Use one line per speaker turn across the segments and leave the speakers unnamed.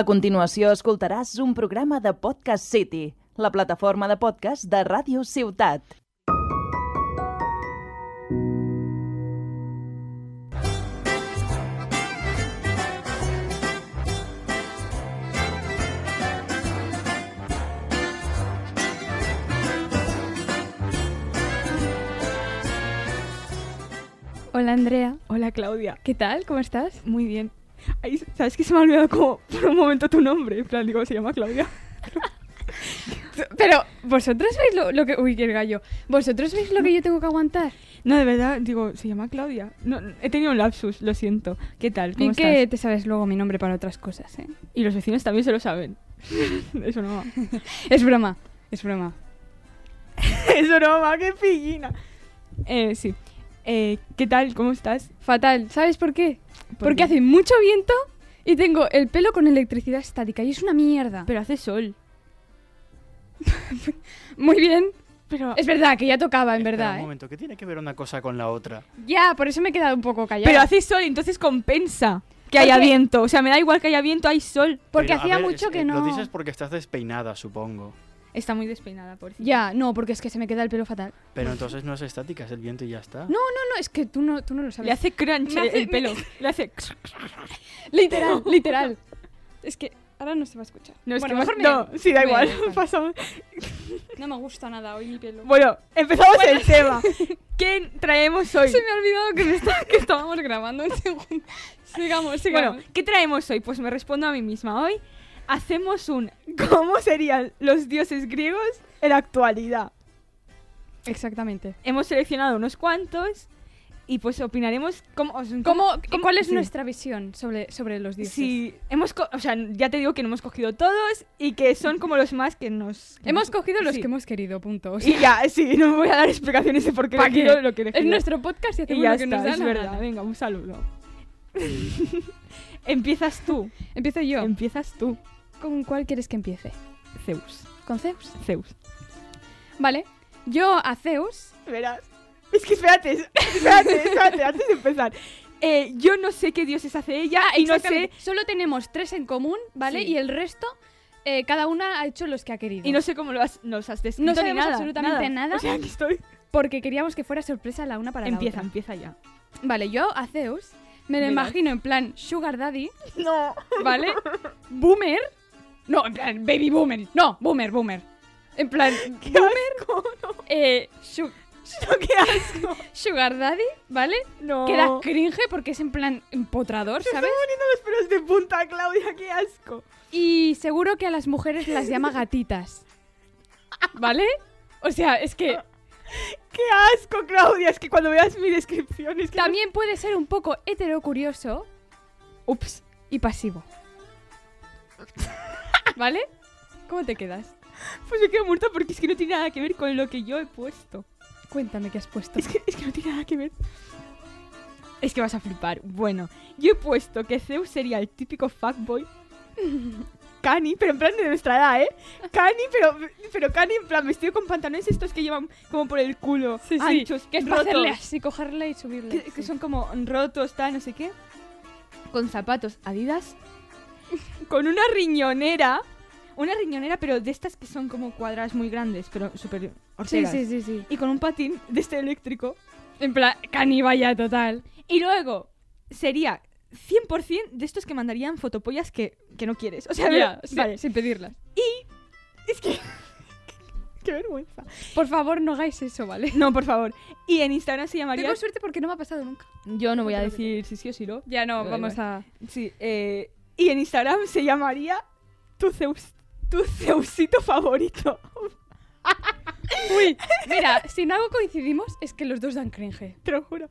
A continuació escoltaràs un programa de Podcast City, la plataforma de podcast de Ràdio Ciutat.
Hola Andrea,
Hola Claudia,
¿qué tal? ¿Cómo estás?
muy bien. Ay, ¿Sabes que se me ha olvidado como por un momento tu nombre? En plan, digo, se llama Claudia.
Pero vosotros veis lo, lo que... Uy, qué gallo. ¿Vosotros veis lo que yo tengo que aguantar?
No, de verdad, digo, se llama Claudia. No, no, he tenido un lapsus, lo siento. ¿Qué tal? ¿Cómo
Bien que
estás?
te sabes luego mi nombre para otras cosas, ¿eh?
Y los vecinos también se lo saben. es broma.
Es broma, es broma.
es broma, qué pillina. Eh, sí. Eh, ¿Qué tal? ¿Cómo estás?
Fatal, ¿sabes por qué?
¿Por
Porque
qué?
hace mucho viento y tengo el pelo con electricidad estática y es una mierda.
Pero hace sol.
Muy bien.
Pero,
Es verdad que ya tocaba, en
Espera
verdad,
Un
¿eh?
momento, ¿qué tiene que ver una cosa con la otra?
Ya, por eso me he quedado un poco callada.
pero hace sol, entonces compensa que haya
Porque-
viento. O sea, me da igual que haya viento, hay sol.
Porque
Pero, a
hacía
ver,
mucho
es-
que
eh,
no...
Lo dices porque estás despeinada, supongo.
Está muy despeinada, por cierto.
Ya, no, porque es que se me queda el pelo fatal.
Pero entonces no es estática, es el viento y ya está.
No, no, no, es que tú no, tú no lo sabes.
Le hace crunch
Me hace-
el pelo. Le hace...
Literal, literal. Es que ahora no se va a escuchar.
No, es
Bueno,
que más-
mejor me-
no, sí, da
me-
igual.
vale.
Pasamos.
No me gusta nada hoy mi pelo.
Bueno, empezamos el tema. ¿Quién traemos hoy?
Se me ha olvidado que, me está- que estábamos grabando un segundo. Sigamos, sigamos.
Bueno, ¿qué traemos hoy? Pues me respondo a mí misma. Hoy hacemos un ¿Cómo serían los dioses griegos en la actualidad?
exactamente.
Hemos seleccionado unos cuantos y pues opinaremos cómo... os-
¿Cómo,
cómo-
¿Cuál es
sí.
nuestra visión sobre, sobre los dioses?
Sí, hemos co- o sea, ya te digo que no hemos cogido todos y que son como los más que nos... que
Hemos
nos-
cogido los
sí.
que hemos querido, punto. O sea,
Y ya, sí, no voy a dar explicaciones de por qué he
¿Pa
elegido
qué?
lo que he
es
elegido.
nuestro podcast y hacemos
Y
lo
ya
que nos
está,
da
es
la
verdad.
gana.
Venga, un saludo. Empiezas tú.
Empiezo yo.
Empiezas tú.
¿Con cuál quieres que empiece?
Zeus.
¿Con Zeus?
Zeus.
Vale. Yo a Zeus...
Verás. Es que espérate, es- espérate, espérate, antes de empezar. Eh, yo no sé qué dioses hace ella y no sé
Exactamente. Solo tenemos tres en común, ¿vale?
Sí.
Y el resto, eh, cada una ha hecho los que ha querido.
y no sé cómo lo has, nos has descrito
No
ni
sabemos
nada.
absolutamente nada.
O sea, aquí estoy.
Porque queríamos que fuera sorpresa la una para
empieza,
la otra.
empieza ya.
Vale, yo a Zeus me lo
Verás.
imagino en plan Sugar Daddy,
No.
¿vale? boomer. No, en plan Baby Boomer. No, Boomer, Boomer. En plan,
¿Qué asco, no.
eh, su-
No, qué asco.
Sugar Daddy, ¿vale?
No.
Que da cringe porque es en plan empotrador,
Se
¿sabes?
están poniendo los pelos de punta, Claudia, qué asco.
Y seguro que a las mujeres las llama gatitas. ¿Vale? O sea, es que
Qué asco, Claudia, es que cuando veas mi descripción es que...
también puede ser un poco heterocurioso
Ups.
y pasivo. ¿Vale? ¿Cómo te quedas?
Pues me quedo muerta porque es que no tiene nada que ver con lo que yo he puesto.
Cuéntame qué has puesto.
Es que, es que no tiene nada que ver. Es que vas a flipar. Bueno, yo he puesto que Zeus sería el típico fuckboy. Cani, pero en plan de nuestra edad, ¿eh? Cani, pero, pero Cani en plan vestido con pantalones estos que llevan como por el culo.
Sí, sí,
Anchos,
que es para
rotos.
hacerle así, cogerle y subirle.
que, que
sí.
son como rotos, tal, no sé qué. Con zapatos adidas. con una riñonera. Una riñonera, pero de estas que son como cuadras muy grandes, pero súper
sí,
horteras.
sí, sí, sí.
Y con un patín de este eléctrico.
En plan, caníbal ya total.
Y luego sería 100% de estos que mandarían fotopollas que, que no quieres. O sea,
Ya,
ver-
sí,
vale.
sin pedirlas.
Es que... Qué vergüenza.
Por favor, no hagáis eso, ¿vale?
No, por favor. Y en Instagram se llamaría...
Tengo suerte porque no me ha pasado nunca.
Yo no voy a decir si sí o si no.
Ya no,
Da
vamos a...
Sí. eh, y en Instagram se llamaría tu, Zeus, tu Zeusito favorito.
Uy, mira, si en algo coincidimos es que los dos dan cringe.
Te lo juro.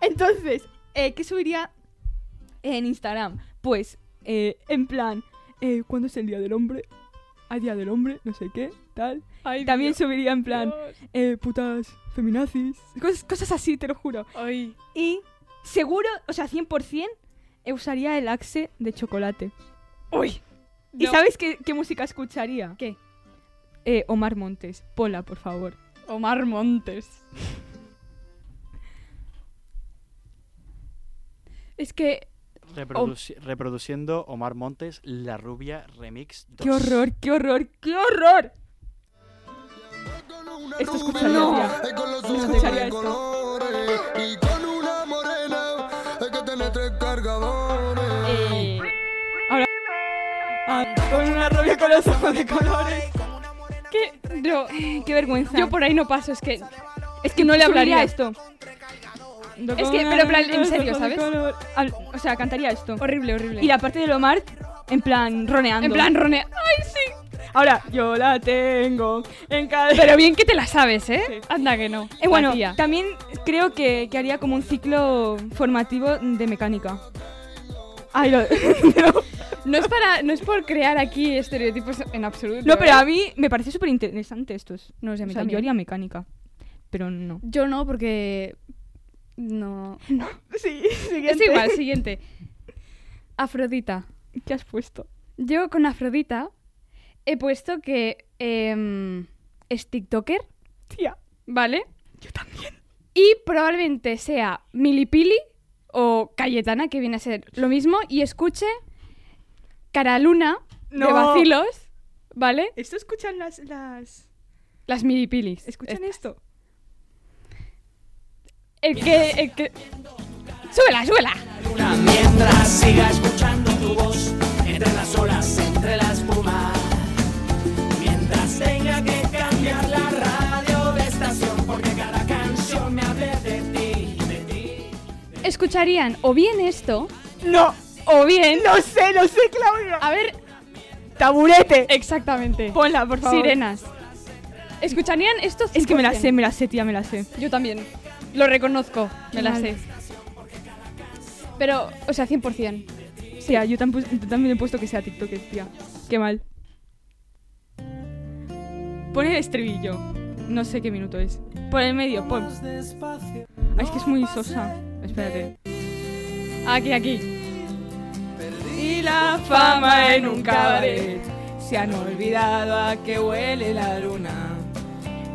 Entonces, eh, ¿qué subiría en Instagram? Pues, eh, en plan, eh, ¿cuándo es el Día del Hombre? A Día del Hombre, no sé qué, tal.
Ay,
También subiría en
Oh.
plan, eh, putas feminazis. Cosas, cosas así, te lo juro.
Ay.
Y seguro, o sea, 100%, eh, usaría el axe de chocolate.
Uy.
¿Y sabes qué, qué música escucharía?
¿Qué?
Eh, Omar Montes. Pola, por favor.
Omar Montes. Es que
Reproduci- Reproduciendo Omar Montes, La Rubia Remix 2.
¡Qué horror, qué horror, qué horror! Esto escucharías
No.
ya.
Escucharía esto. Y con una morena hay que tener tres cargadores.
Eh, ahora. Ah, con una rubia con los ojos de colores.
¿Qué? No,
Qué vergüenza.
yo por ahí no paso, es que...
es que no le hablaría
Escucharía
esto.
Es que, pero en plan, en serio, ¿sabes?
Al- o sea, cantaría esto.
Horrible, horrible.
Y la parte de Lomar, en plan, roneando.
En plan, Rone... ¡Ay, sí!
Ahora, yo la tengo en cada.
Pero bien que te la sabes, ¿eh?
Sí.
Anda que no.
Eh, bueno,
La tía.
también creo que, que haría como un ciclo formativo de mecánica. Ay, lo- no,
no es para, no es por crear aquí estereotipos en absoluto.
no, pero
¿eh?
a mí me parece súper interesante estos.
no sé,
O
a mí
sea, yo
también.
haría mecánica, pero no.
Yo no, porque no.
Sí,
Es igual, siguiente. Afrodita.
¿Qué has puesto?
Yo con Afrodita he puesto que em, es TikToker,
Tía.
¿vale? Yo también. Y probablemente sea Milipili o Cayetana, que viene a ser lo mismo, y escuche Caraluna de
No.
Bacilos, ¿vale?
¿Esto escuchan las. las...
Las Milipilis.
¿Escuchan esto?
El que, el que... ¡Súbela, súbela!
Mientras siga escuchando tu voz, entre las olas, entre la espuma. Mientras tenga que cambiar la radio de estación, porque cada canción me hable de ti, de ti.
Escucharían o bien esto...
¡No! O bien. No sé, no sé, Claudia.
A ver,
¡Taburete!
exactamente.
Ponla, por favor.
Sirenas. ¿Escucharían esto?
Es que me la
100%.
sé, me la sé, tía, me la sé.
Yo también. Lo reconozco. Me la
Vale.
sé. Pero, o sea, 100%.
Tía, ah, yo, tampu- yo también he puesto que sea TikTok, tía. Qué mal. Pon el estribillo. No sé qué minuto es. Por el medio, pon. Ah, es que es muy sosa. Espérate. Aquí, aquí. Y la fama en un cabaret. Se han olvidado a que huele la luna.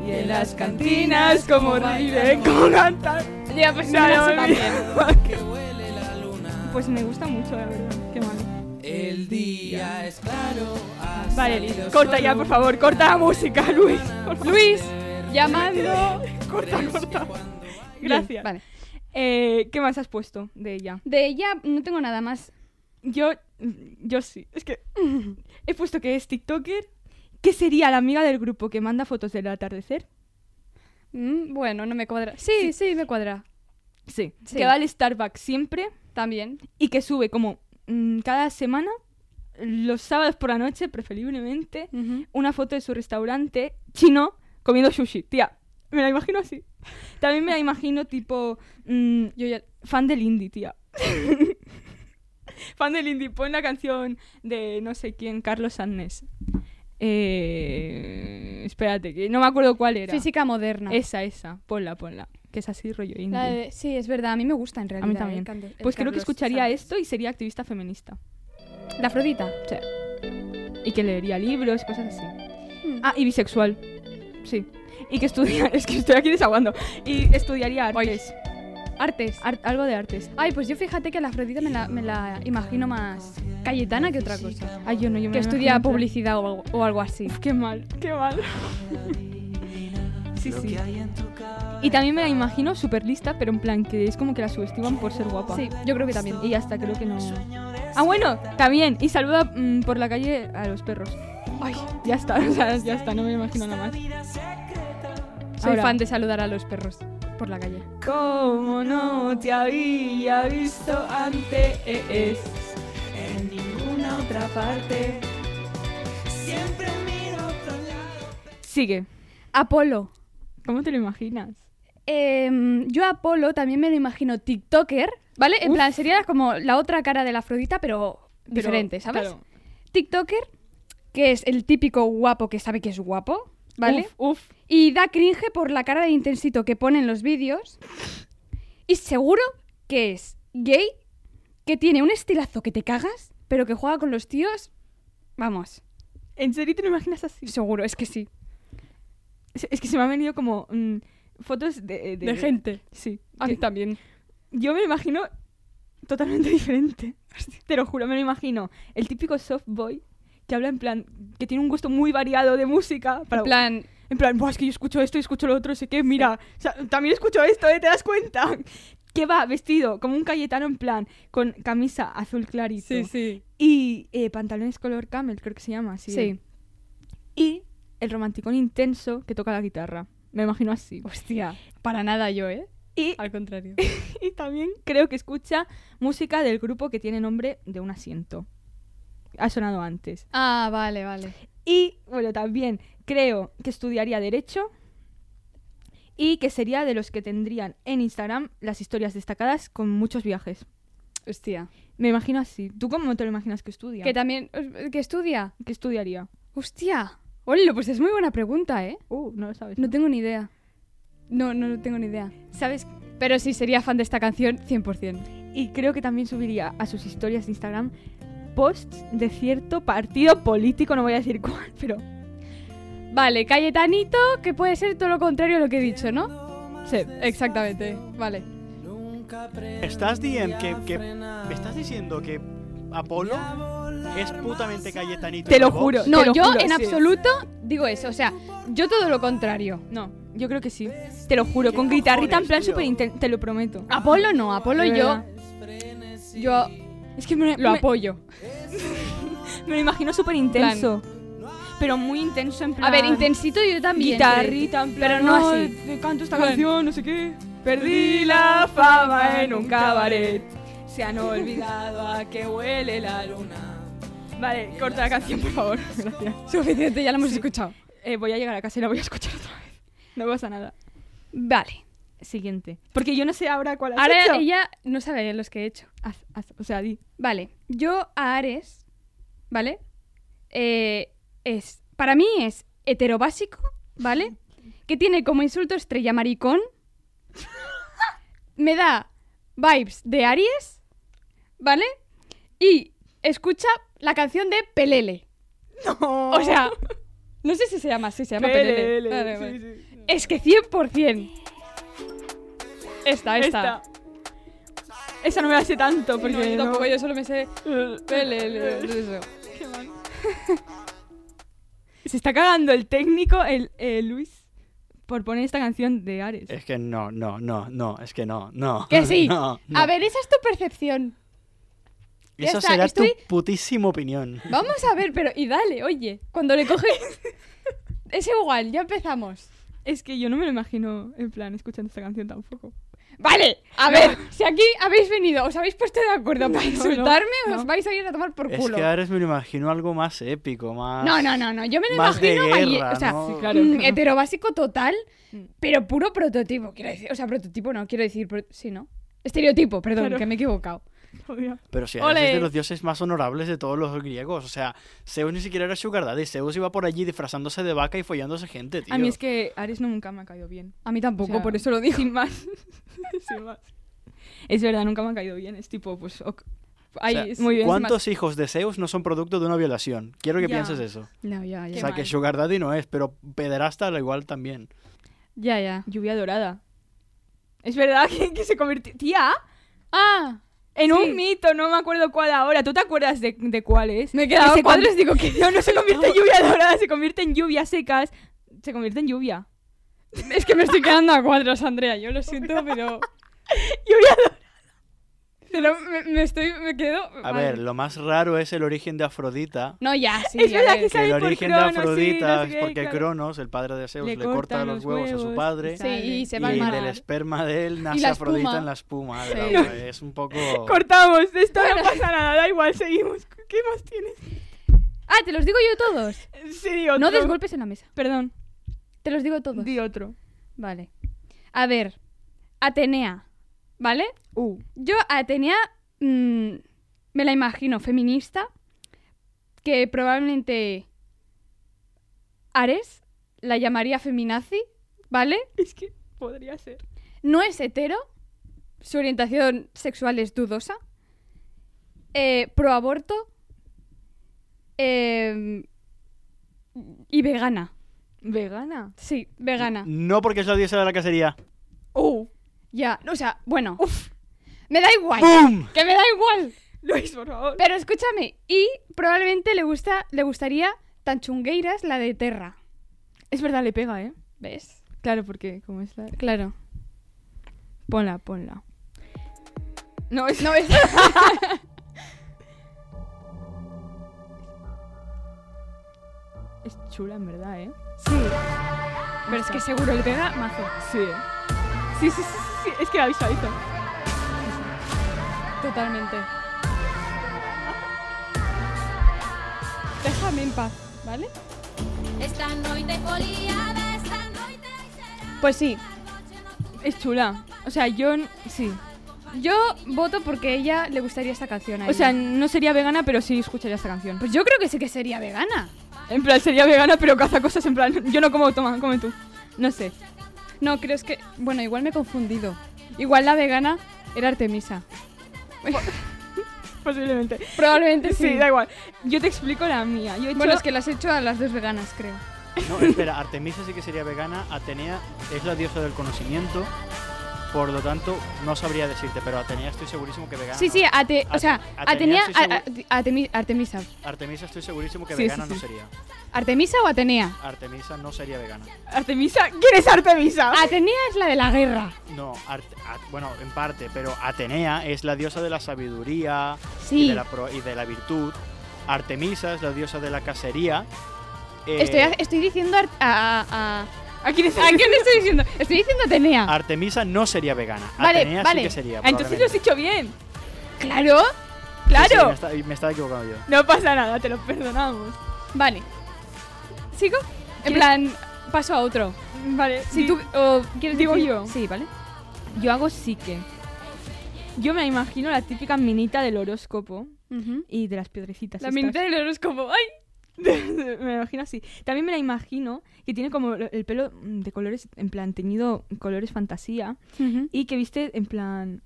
Y en las cantinas como ríen, como cantan.
Ya, pues
Se
me la sé
han
también.
olvidado.
Que huele la luna,
Pues me gusta mucho, la verdad. Qué mal.
el día es claro. ha
Vale,
salido
corta ya,
solo
por favor, corta la música, Luis.
Luis, llamando.
corta, corta.
Bien,
Gracias.
vale.
Eh, ¿Qué más has puesto de ella?
De ella no tengo nada más.
Yo, yo sí. Es que he puesto que es TikToker. ¿Qué sería la amiga del grupo que manda fotos del atardecer?
Mm, bueno, no me cuadra. Sí, sí, me cuadra.
Sí.
Sí.
Que va al Starbucks siempre
También.
y que sube como mm, cada semana, los sábados por la noche preferiblemente, una foto de su restaurante chino comiendo sushi. Tía, me la imagino así. También me la imagino tipo mm,
Yo ya.
fan del indie, tía. fan del indie. Pon la canción de no sé quién, Carlos Sanés. Eh, espérate, que no me acuerdo cuál era.
Física moderna.
Esa, esa. Ponla, ponla. Que es así rollo indie.
La de- sí, es verdad. A mí me gusta en realidad.
también.
el Cande- el
Pues creo que
Carlos
escucharía
Sanz.
esto y sería activista feminista.
La Afrodita.
Y que leería libros, cosas así.
Mm.
Ah, y bisexual. Sí. Y que estudia... Es que estoy aquí desahogando. Y estudiaría artes.
Artes.
Ar- algo de artes.
Ay, pues yo fíjate que la Afrodita me la, me la imagino más Cayetana que otra cosa.
Ay, yo no, yo me
Que
la
estudia
imagino en plan-
publicidad o algo, o algo así.
Qué mal, qué mal. Sí, sí. Y también me la imagino súper lista, pero en plan que es como que la subestiman por ser guapa.
Sí, yo creo que también.
Y hasta creo que no. Ah, bueno, también. Y saluda mm, por la calle a los perros. Ay, ya está, o sea, ya está, no me imagino nada más.
Soy
Ahora.
fan de saludar a los perros por la calle.
Como no te había visto antes.
En ninguna otra parte, siempre miro a otro lado.
Sigue.
Apolo.
¿Cómo te lo imaginas?
Em, yo a Apolo también me lo imagino TikToker, ¿vale? En plan, sería como la otra cara de la Afrodita, pero
Pero,
diferente, ¿sabes?
claro.
TikToker, que es el típico guapo que sabe que es guapo, ¿vale?
Uf, uf.
Y da cringe por la cara de intensito que pone en los vídeos. Y seguro que es gay, que tiene un estilazo que te cagas, pero que juega con los tíos. Vamos,
¿En serio te lo imaginas así?
seguro, es que sí.
Es es que se me han venido como mm, fotos de,
De gente.
Sí.
A mí
que-
también.
Yo me lo imagino totalmente diferente. Te lo juro, me lo imagino. El típico soft boy que habla en plan, que tiene un gusto muy variado de música. Para,
En plan,
en plan, "Buah, es que yo escucho esto y escucho lo otro, sé qué, mira, o sea, también escucho esto, ¿eh? ¿Te das cuenta? Que va vestido como un Cayetano en plan, con camisa azul clarito
Sí, sí.
y eh, pantalones color camel, creo que se llama así.
sí.
Y el romanticón intenso que toca la guitarra. Me imagino así.
Hostia, para nada yo, ¿eh?
Y,
Al contrario.
y también creo que escucha música del grupo que tiene nombre de un asiento. Ha sonado antes.
Ah, vale, vale.
Y bueno, también creo que estudiaría Derecho y que sería de los que tendrían en Instagram las historias destacadas con muchos viajes.
Hostia.
Me imagino así. ¿Tú cómo te lo imaginas que estudia?
Que también, que estudia.
¿Qué estudiaría?
Hostia. Hola, pues es muy buena pregunta, ¿eh?
Uh, no lo sabes.
No tengo ni idea. No, no, no tengo ni idea. ¿Sabes? Pero sí, sería fan de esta canción 100%.
Y creo que también subiría a sus historias de Instagram posts de cierto partido político, no voy a decir cuál, pero
Vale, Cayetanito, que puede ser todo lo contrario a lo que he dicho, ¿no? Sí, exactamente. Vale.
¿Estás, diciendo que, que- ¿Me estás diciendo que Apolo es putamente Cayetanito?
Te
en
lo
el box?
juro.
No,
Te lo
yo
juro,
en
sí.
absoluto digo eso. O sea, yo todo lo contrario.
no, yo creo que sí. Te lo juro,
¿Qué
con guitarrita en
cojones,
plan
tío?
super te lo prometo.
Apolo no, Apolo
De
yo.
verdad.
Yo
Es que me
lo
me-
apoyo.
Me lo imagino súper intenso. Pero muy intenso en plan.
A ver, intensito yo también.
Guitarrita, en plan.
Pero no así.
"Ay, Canto esta
Bueno.
canción, no sé qué. Perdí la fama en un cabaret. Se han olvidado a que huele la luna. Vale, corta la canción, por favor. Gracias.
Suficiente, ya lo hemos escuchado.
Eh, voy a llegar a casa y la voy a escuchar otra vez. No pasa nada.
Vale.
Siguiente. Porque yo no sé ahora cuál has
Ahora
hecho.
ella no sabe los que he hecho.
Haz- haz- o sea, di.
Vale, yo a Ares, ¿vale? Eh, es, para mí es heterobásico, ¿vale? Que tiene como insulto estrella maricón. Me da vibes de Aries, ¿vale? Y escucha la canción de Pelele.
No.
O sea, no sé si se llama así, se llama Pelele.
Pelele,
Vale,
sí,
vale.
sí.
Es que 100%. Esta, esta.
Esta. Esa no me la sé tanto porque
No, yo
no-
tampoco, yo solo me sé Pelele. eso.
Se está cagando el técnico, el eh, Luis, por poner esta canción de Ares.
Es que no, no, no, no, es que no, no.
Que sí.
No, no.
A ver, esa es tu percepción. ya
Esa
está,
será
estoy-
tu putísima opinión.
Vamos a ver, pero. Y dale, oye. Cuando le coges. es igual, ya empezamos.
Es que yo no me lo imagino en plan escuchando esta canción tampoco.
Vale, a ver, si aquí habéis venido, os habéis puesto de acuerdo para
No,
insultarme,
no, no.
os vais a ir a tomar por
Es
culo.
que Ares me lo imagino algo más épico, más.
No, no, no, no. Yo me lo
más de
imagino malle-
guerra,
o sea,
¿no? Sí,
claro.
mm, heterobásico total,
Mm.
pero puro prototipo, quiero decir. O sea, prototipo no, quiero decir. pro- Sí, ¿no? Estereotipo, perdón,
Claro.
que me he equivocado.
Joder.
Pero si Ares
Ole.
es de los dioses más honorables de todos los griegos. O sea, Zeus ni siquiera era sugar daddy. Zeus iba por allí disfrazándose de vaca y follándose gente, tío.
A mí es que Ares no nunca me ha caído bien.
A mí tampoco,
O sea,
por eso lo digo.
Sin más. Sin más. Es verdad, nunca me ha caído bien. Es tipo, pues. ok.
O
Ay,
sea,
es muy bien.
¿Cuántos hijos de Zeus no son producto de una violación? Quiero que
Ya.
pienses eso.
No, ya,
O
ya.
sea, que
mal.
sugar daddy no es, pero pederasta al igual también.
Ya, ya.
Lluvia dorada. Es verdad que, que se convirtió. Tía,
Ah,
en
Sí.
un mito, no me acuerdo cuál ahora. ¿Tú te acuerdas de, de cuál es?
me he quedado
Ese
cuadros
cuadro-
digo que
No, no se convierte en lluvia dorada, se convierte en lluvias secas. Se convierte en lluvia.
Es que me estoy quedando a cuadros, Andrea. Yo lo siento, pero.
Lluvia dorada.
Pero me, me estoy. Me quedo.
A
Vale.
ver, lo más raro es el origen de Afrodita.
No, ya, sí.
Es
a
verdad
ver.
que
Que
Sale
el
por
origen
Cronos, sí,
de Afrodita
no sé
es
qué,
porque
claro.
Cronos, el padre de Zeus, le, corta, los huevos, a su
y
padre.
Sí, y se
Y
va al mar.
del esperma de él nace
la
Afrodita
espuma.
en la espuma.
Sí.
del agua. Es un poco.
Cortamos, de esto no pasa nada, da igual, seguimos. ¿Qué más tienes?
Ah, te los digo yo todos.
Sí, otro.
No des golpes en la mesa.
Perdón,
Te los digo todos.
di otro.
Vale. A ver. Atenea. ¿Vale?
Uh.
Yo a Atenea mm, me la imagino feminista, que probablemente Ares la llamaría feminazi, ¿vale?
Es que podría ser.
No es hetero, su orientación sexual es dudosa, eh, proaborto eh, y vegana.
¿Vegana?
Sí, vegana.
No porque es la diosa de la cacería.
Uh.
Ya, o sea, bueno. Me da igual.
¡Bum!
Que me da igual.
Luis, por favor.
Pero escúchame, y probablemente le gusta, le gustaría tan chungueiras la de Terra.
Es verdad, le pega, ¿eh?
¿Ves?
Claro, porque como es la...
Claro.
Ponla, ponla.
No, es... No, es...
Es chula, en verdad, ¿eh?
sí. Pero es que seguro le pega mazo.
Sí. ¿eh? Sí, sí, sí, sí, sí. Es que la visualizo.
Totalmente. Déjame en paz, ¿vale?
Esta noite foliada, esta noite será
Pues sí,
noche nocturna.
Es chula. O sea, yo... n- Sí.
yo voto porque a ella le gustaría esta canción. a
O sea,
ella.
no sería vegana, pero sí escucharía esta canción.
pues yo creo que sí que sería vegana.
En plan, sería vegana, pero caza cosas. En plan, yo no como, toma, come tú. No sé.
No, creo es que... Bueno, igual me he confundido. Igual la vegana era Artemisa.
Posiblemente.
Probablemente
Sí,
sí.
da igual. Yo te explico la mía. Yo he hecho...
Bueno, es que las he hecho a las dos veganas, creo.
No, espera, Artemisa sí que sería vegana, Atenea es la diosa del conocimiento, por lo tanto, no sabría decirte, pero Atenea estoy segurísimo que vegana.
Sí,
no
sí,
es.
ate- o sea, Atenea,
Atenea,
a- a- Artemi- Artemisa.
Artemisa estoy segurísimo que
Sí, sí,
vegana no
sí.
sería.
¿Artemisa o Atenea?
Artemisa no sería vegana.
Artemisa... ¿Quién es Artemisa?
Atenea es la de la guerra.
No, Arte- a- bueno, en parte, pero Atenea es la diosa de la sabiduría y,
Sí.
de la pro- y de la virtud. Artemisa es la diosa de la cacería. Eh,
Estoy, estoy diciendo ar- a, a- a-
¿A quién es
¿A quién le estoy diciendo? Estoy diciendo Atenea.
Artemisa no sería vegana.
Vale,
Atenea
vale.
sí que sería.
Ah, Entonces lo has
probablemente.
hecho bien.
claro.
Sí, sí,
Claro.
me, está- me estaba equivocando yo.
No pasa nada, te lo perdonamos.
Vale. ¿Sigo? En
¿Quieres-
plan, paso a otro.
Vale.
Si
di-
tú o quieres
digo
decir-
yo.
Sí, vale.
Yo hago psique. Yo me imagino la típica minita del horóscopo y de las piedrecitas.
La
estas.
minita del horóscopo. ¡Ay!
me la imagino así. También me la imagino que tiene como el pelo mm, de colores, en plan, teñido en colores fantasía
¿Y
y que viste en plan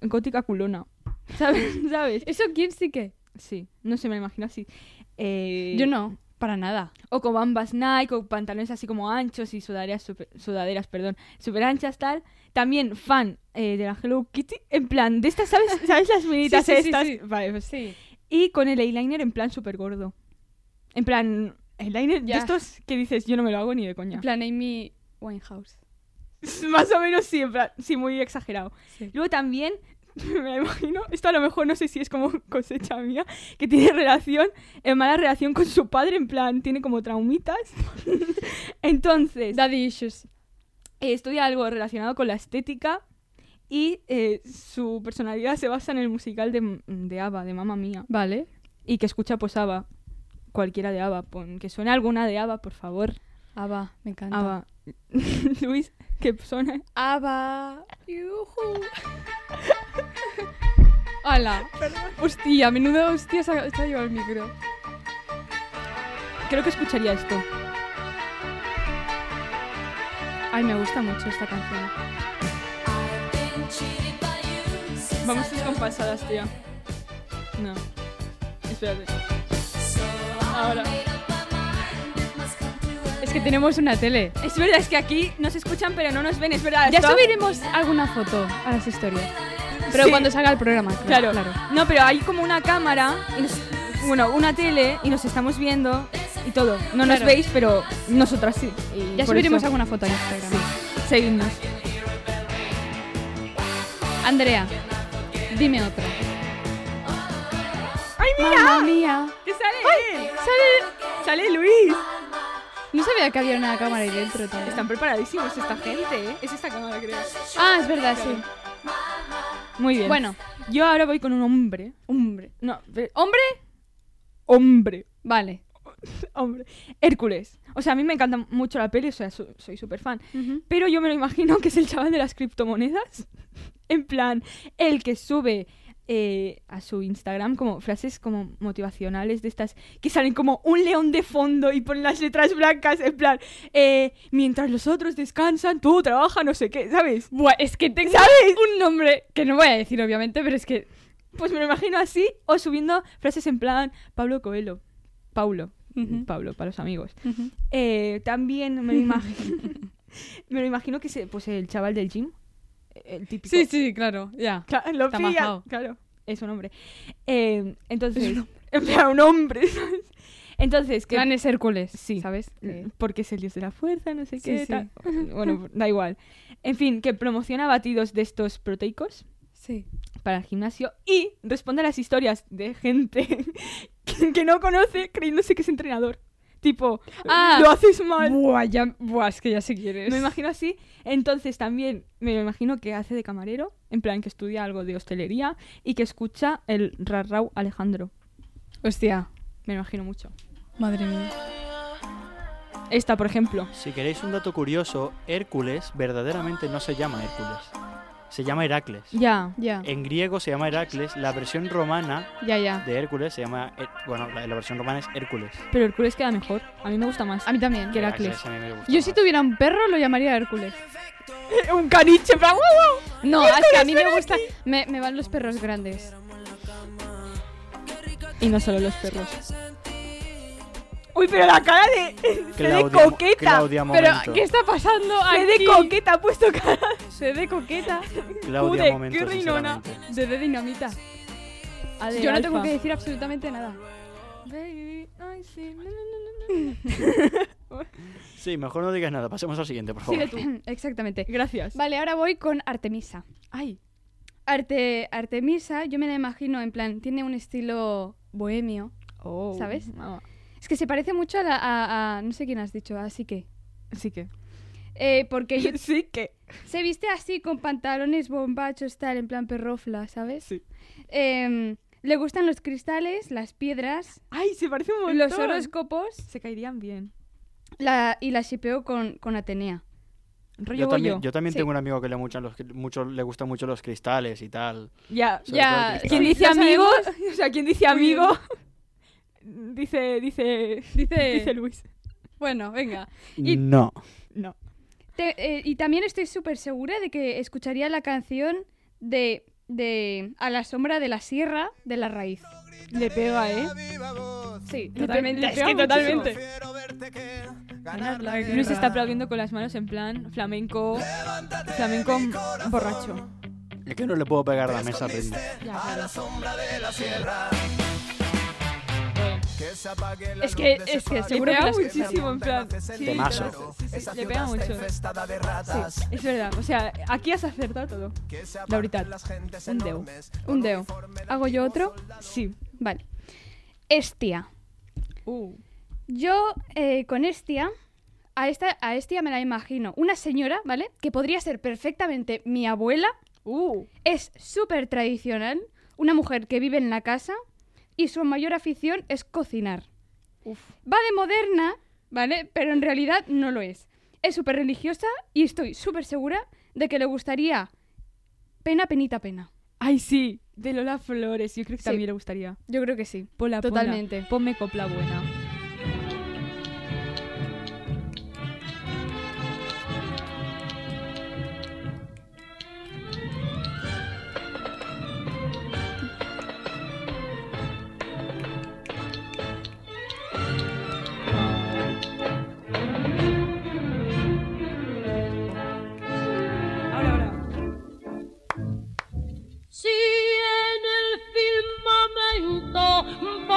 gótica culona. ¿Sabes? ¿Sabes?
¿Eso quién sí que?
Sí, no sé, me la imagino así. Eh,
Yo no, para nada.
O con bambas Nike, o pantalones así como anchos y sudaderas, super- sudaderas, perdón, super anchas, tal. También fan eh, de la Hello Kitty, en plan, de estas, ¿sabes, ¿sabes las minitas
Sí, sí, sí,
estas?
sí.
Vale, pues
Sí.
Y con el eyeliner en plan súper gordo. En plan, eyeliner
Ya.
de estos que dices, yo no me lo hago ni de coña.
En plan Amy Winehouse.
Más o menos sí, en plan, sí, muy exagerado.
Sí.
Luego también, me la imagino, esto a lo mejor no sé si es como cosecha mía, que tiene relación, en mala relación con su padre, en plan, tiene como traumitas. Entonces,
Daddy Issues.
eh, estudia algo relacionado con la estética y eh, su personalidad se basa en el musical de, de ABBA, de Mamma Mía.
Vale.
Y que escucha pues ABBA, cualquiera de ABBA, pon- que suene alguna de ABBA, por favor.
Ava, me encanta.
ABBA. Luis, que suena.
Ava. Yujú. Hola. Hostia, menuda hostia se ha, se ha llevado el micro.
Creo que escucharía esto.
Ay, me gusta mucho esta canción.
I've been cheated by you since
Vamos
I
descompasadas, tía. No. Espérate.
So
Ahora.
I made up my mind it must come to an
Es que tenemos una tele.
Es verdad, es que aquí nos escuchan pero no nos ven, es verdad.
Ya
esto-
subiremos alguna foto a las historias. Pero
Sí.
cuando salga el programa,
Claro.
claro. claro.
No, pero hay como una cámara, y nos- bueno, una tele y nos estamos viendo y todo. No nos
Claro.
veis, pero nosotras sí. Y
Ya
por
subiremos
eso-
alguna foto a Instagram.
Seguidnos.
Andrea, dime otra.
¡Ay,
Mamma mía.
¡Que sale! él! ¡Sale! ¡Sale Luis!
No sabía que había una cámara ahí dentro todavía.
Están preparadísimos esta gente, ¿eh? Es esta cámara, creo.
Ah, es verdad, sí.
Muy bien.
Bueno,
yo ahora voy con un hombre.
hombre.
No, ve-
¿Hombre?
hombre.
Vale.
Hombre. Hércules. O sea, a mí me encanta mucho la peli, o sea, su- soy súper fan. Pero yo me lo imagino que es el chaval de las criptomonedas. en plan, el que sube eh, a su Instagram como frases como motivacionales de estas que salen como un león de fondo y ponen las letras blancas. En plan, eh, mientras los otros descansan, tú trabaja, no sé qué, ¿sabes?
Buah, es que tengo
¿Sabes?
un nombre que no voy a decir, obviamente, pero es que.
Pues me lo imagino así o subiendo frases en plan Pablo Coelho. Paulo. Pablo, para los amigos. Eh, también me lo imagino. me lo imagino que es eh, pues, el chaval del gym. el típico.
Sí, sí, claro, ya.
Claro, lo
Está
pilla-
majao.
Claro, es un hombre. Eh, entonces, en plan, un hombre. ¿sabes? Entonces, que
Plan es Hércules,
Sí.
¿sabes? Eh,
Mm, porque es el dios de la fuerza, no sé
Sí,
qué.
sí.
tal. Bueno, da igual. En fin, que promociona batidos de estos proteicos
Sí.
para el gimnasio y responde a las historias de gente que, que no conoce creyéndose que es entrenador. Tipo,
Ah.
lo haces mal.
Buah, ya, buah, es que ya sé quién es.
Me imagino así. Entonces también me lo imagino que hace de camarero, en plan que estudia algo de hostelería y que escucha el Rarrau Alejandro.
Hostia,
Me lo imagino mucho.
madre mía.
Esta, por ejemplo.
Si queréis un dato curioso, Hércules verdaderamente no se llama Hércules. Se llama Heracles.
Ya.
Ya,
En griego se llama Heracles, la versión romana
ya, ya.
de Hércules se llama... Her- Bueno, la, la versión romana es Hércules. Ah,
Pero Hércules queda mejor. A mí me gusta más.
A mí también.
Que Heracles.
a mí me gusta
Yo si
más.
tuviera un perro lo llamaría Hércules.
un caniche, en plan, ¡guau, guau!
No, es que a mí me gusta... Me, me van los perros grandes.
Y no solo los perros. Uy, pero la cara de. Se de
Claudia-
coqueta.
Claudia,
Pero,
momento.
¿qué está pasando
Se de
aquí?
coqueta ha puesto cara.
Se de coqueta.
Claudia,
Joder,
momento,
qué reinona.
sinceramente.
Se de dinamita.
de
Yo no
alfa.
tengo que decir absolutamente nada.
Baby, I see- na, na, na, na, na.
Sí, mejor no digas nada. Pasemos al siguiente, por favor.
Sigue tú.
Exactamente.
Gracias.
Vale, ahora voy con Artemisa.
Ay,
Arte, Artemisa, yo me la imagino en plan, tiene un estilo bohemio.
oh.
¿Sabes?
Ah,
Es que se parece mucho a, la, a- a- no sé quién has dicho, así que.
sí que.
Eh, porque yo-
sí que.
se viste así con pantalones bombachos, tal, en plan perrofla, ¿sabes?
Sí.
Em, le gustan los cristales, las piedras,
Ay, se parece un montón.
los horóscopos
Se caerían bien.
la, y la shipeo con, con Atenea.
Rollo
Yo también, yo también
Sí.
tengo un amigo que le, mucho los, mucho, le gustan mucho los cristales y tal.
Ya.
Sobre todo el cristal.
Quien dice
¿Lo
amigo.
sabemos?
O sea, quien dice amigo. Dice. Dice.
Dice,
Dice Luis.
bueno, venga. Y-
No.
No.
Te- eh, y también estoy súper segura de que escucharía la canción de, de A la sombra de la sierra de la raíz.
Le pega, ¿eh?
Sí,
Totalmente,
le
es
pega
que
muchísimo.
totalmente.
Ganar la guerra.
Luis está aplaudiendo con las manos en plan flamenco. Flamenco borracho.
Es que no le puedo pegar la mesa al ritmo.
Ya, claro.
Es que, es que
Le
seguro que
pega
las-
muchísimo, en plan. Sí,
Temazo.
sí, sí, le pega mucho. Sí, es verdad. O sea, aquí has acertado todo. La veritat. Un deu.
Un deo. ¿Hago yo otro?
Sí.
Vale. Estia.
Uh.
Yo eh, con Estia, a esta, a Estia me la imagino. Una señora, ¿vale? Que podría ser perfectamente mi abuela.
Uh.
Es súper tradicional. Una mujer que vive en la casa y su mayor afición es cocinar.
Uf.
Va de moderna, ¿vale? Pero en realidad no lo es. Es súper religiosa y estoy súper segura de que le gustaría pena, penita, pena.
Ay, sí. De Lola Flores. Yo creo que
Sí.
también le gustaría.
Yo creo que sí.
Pola, pola.
Totalmente.
Ponme copla buena. Ahora, ahora.
Si en el firmamento un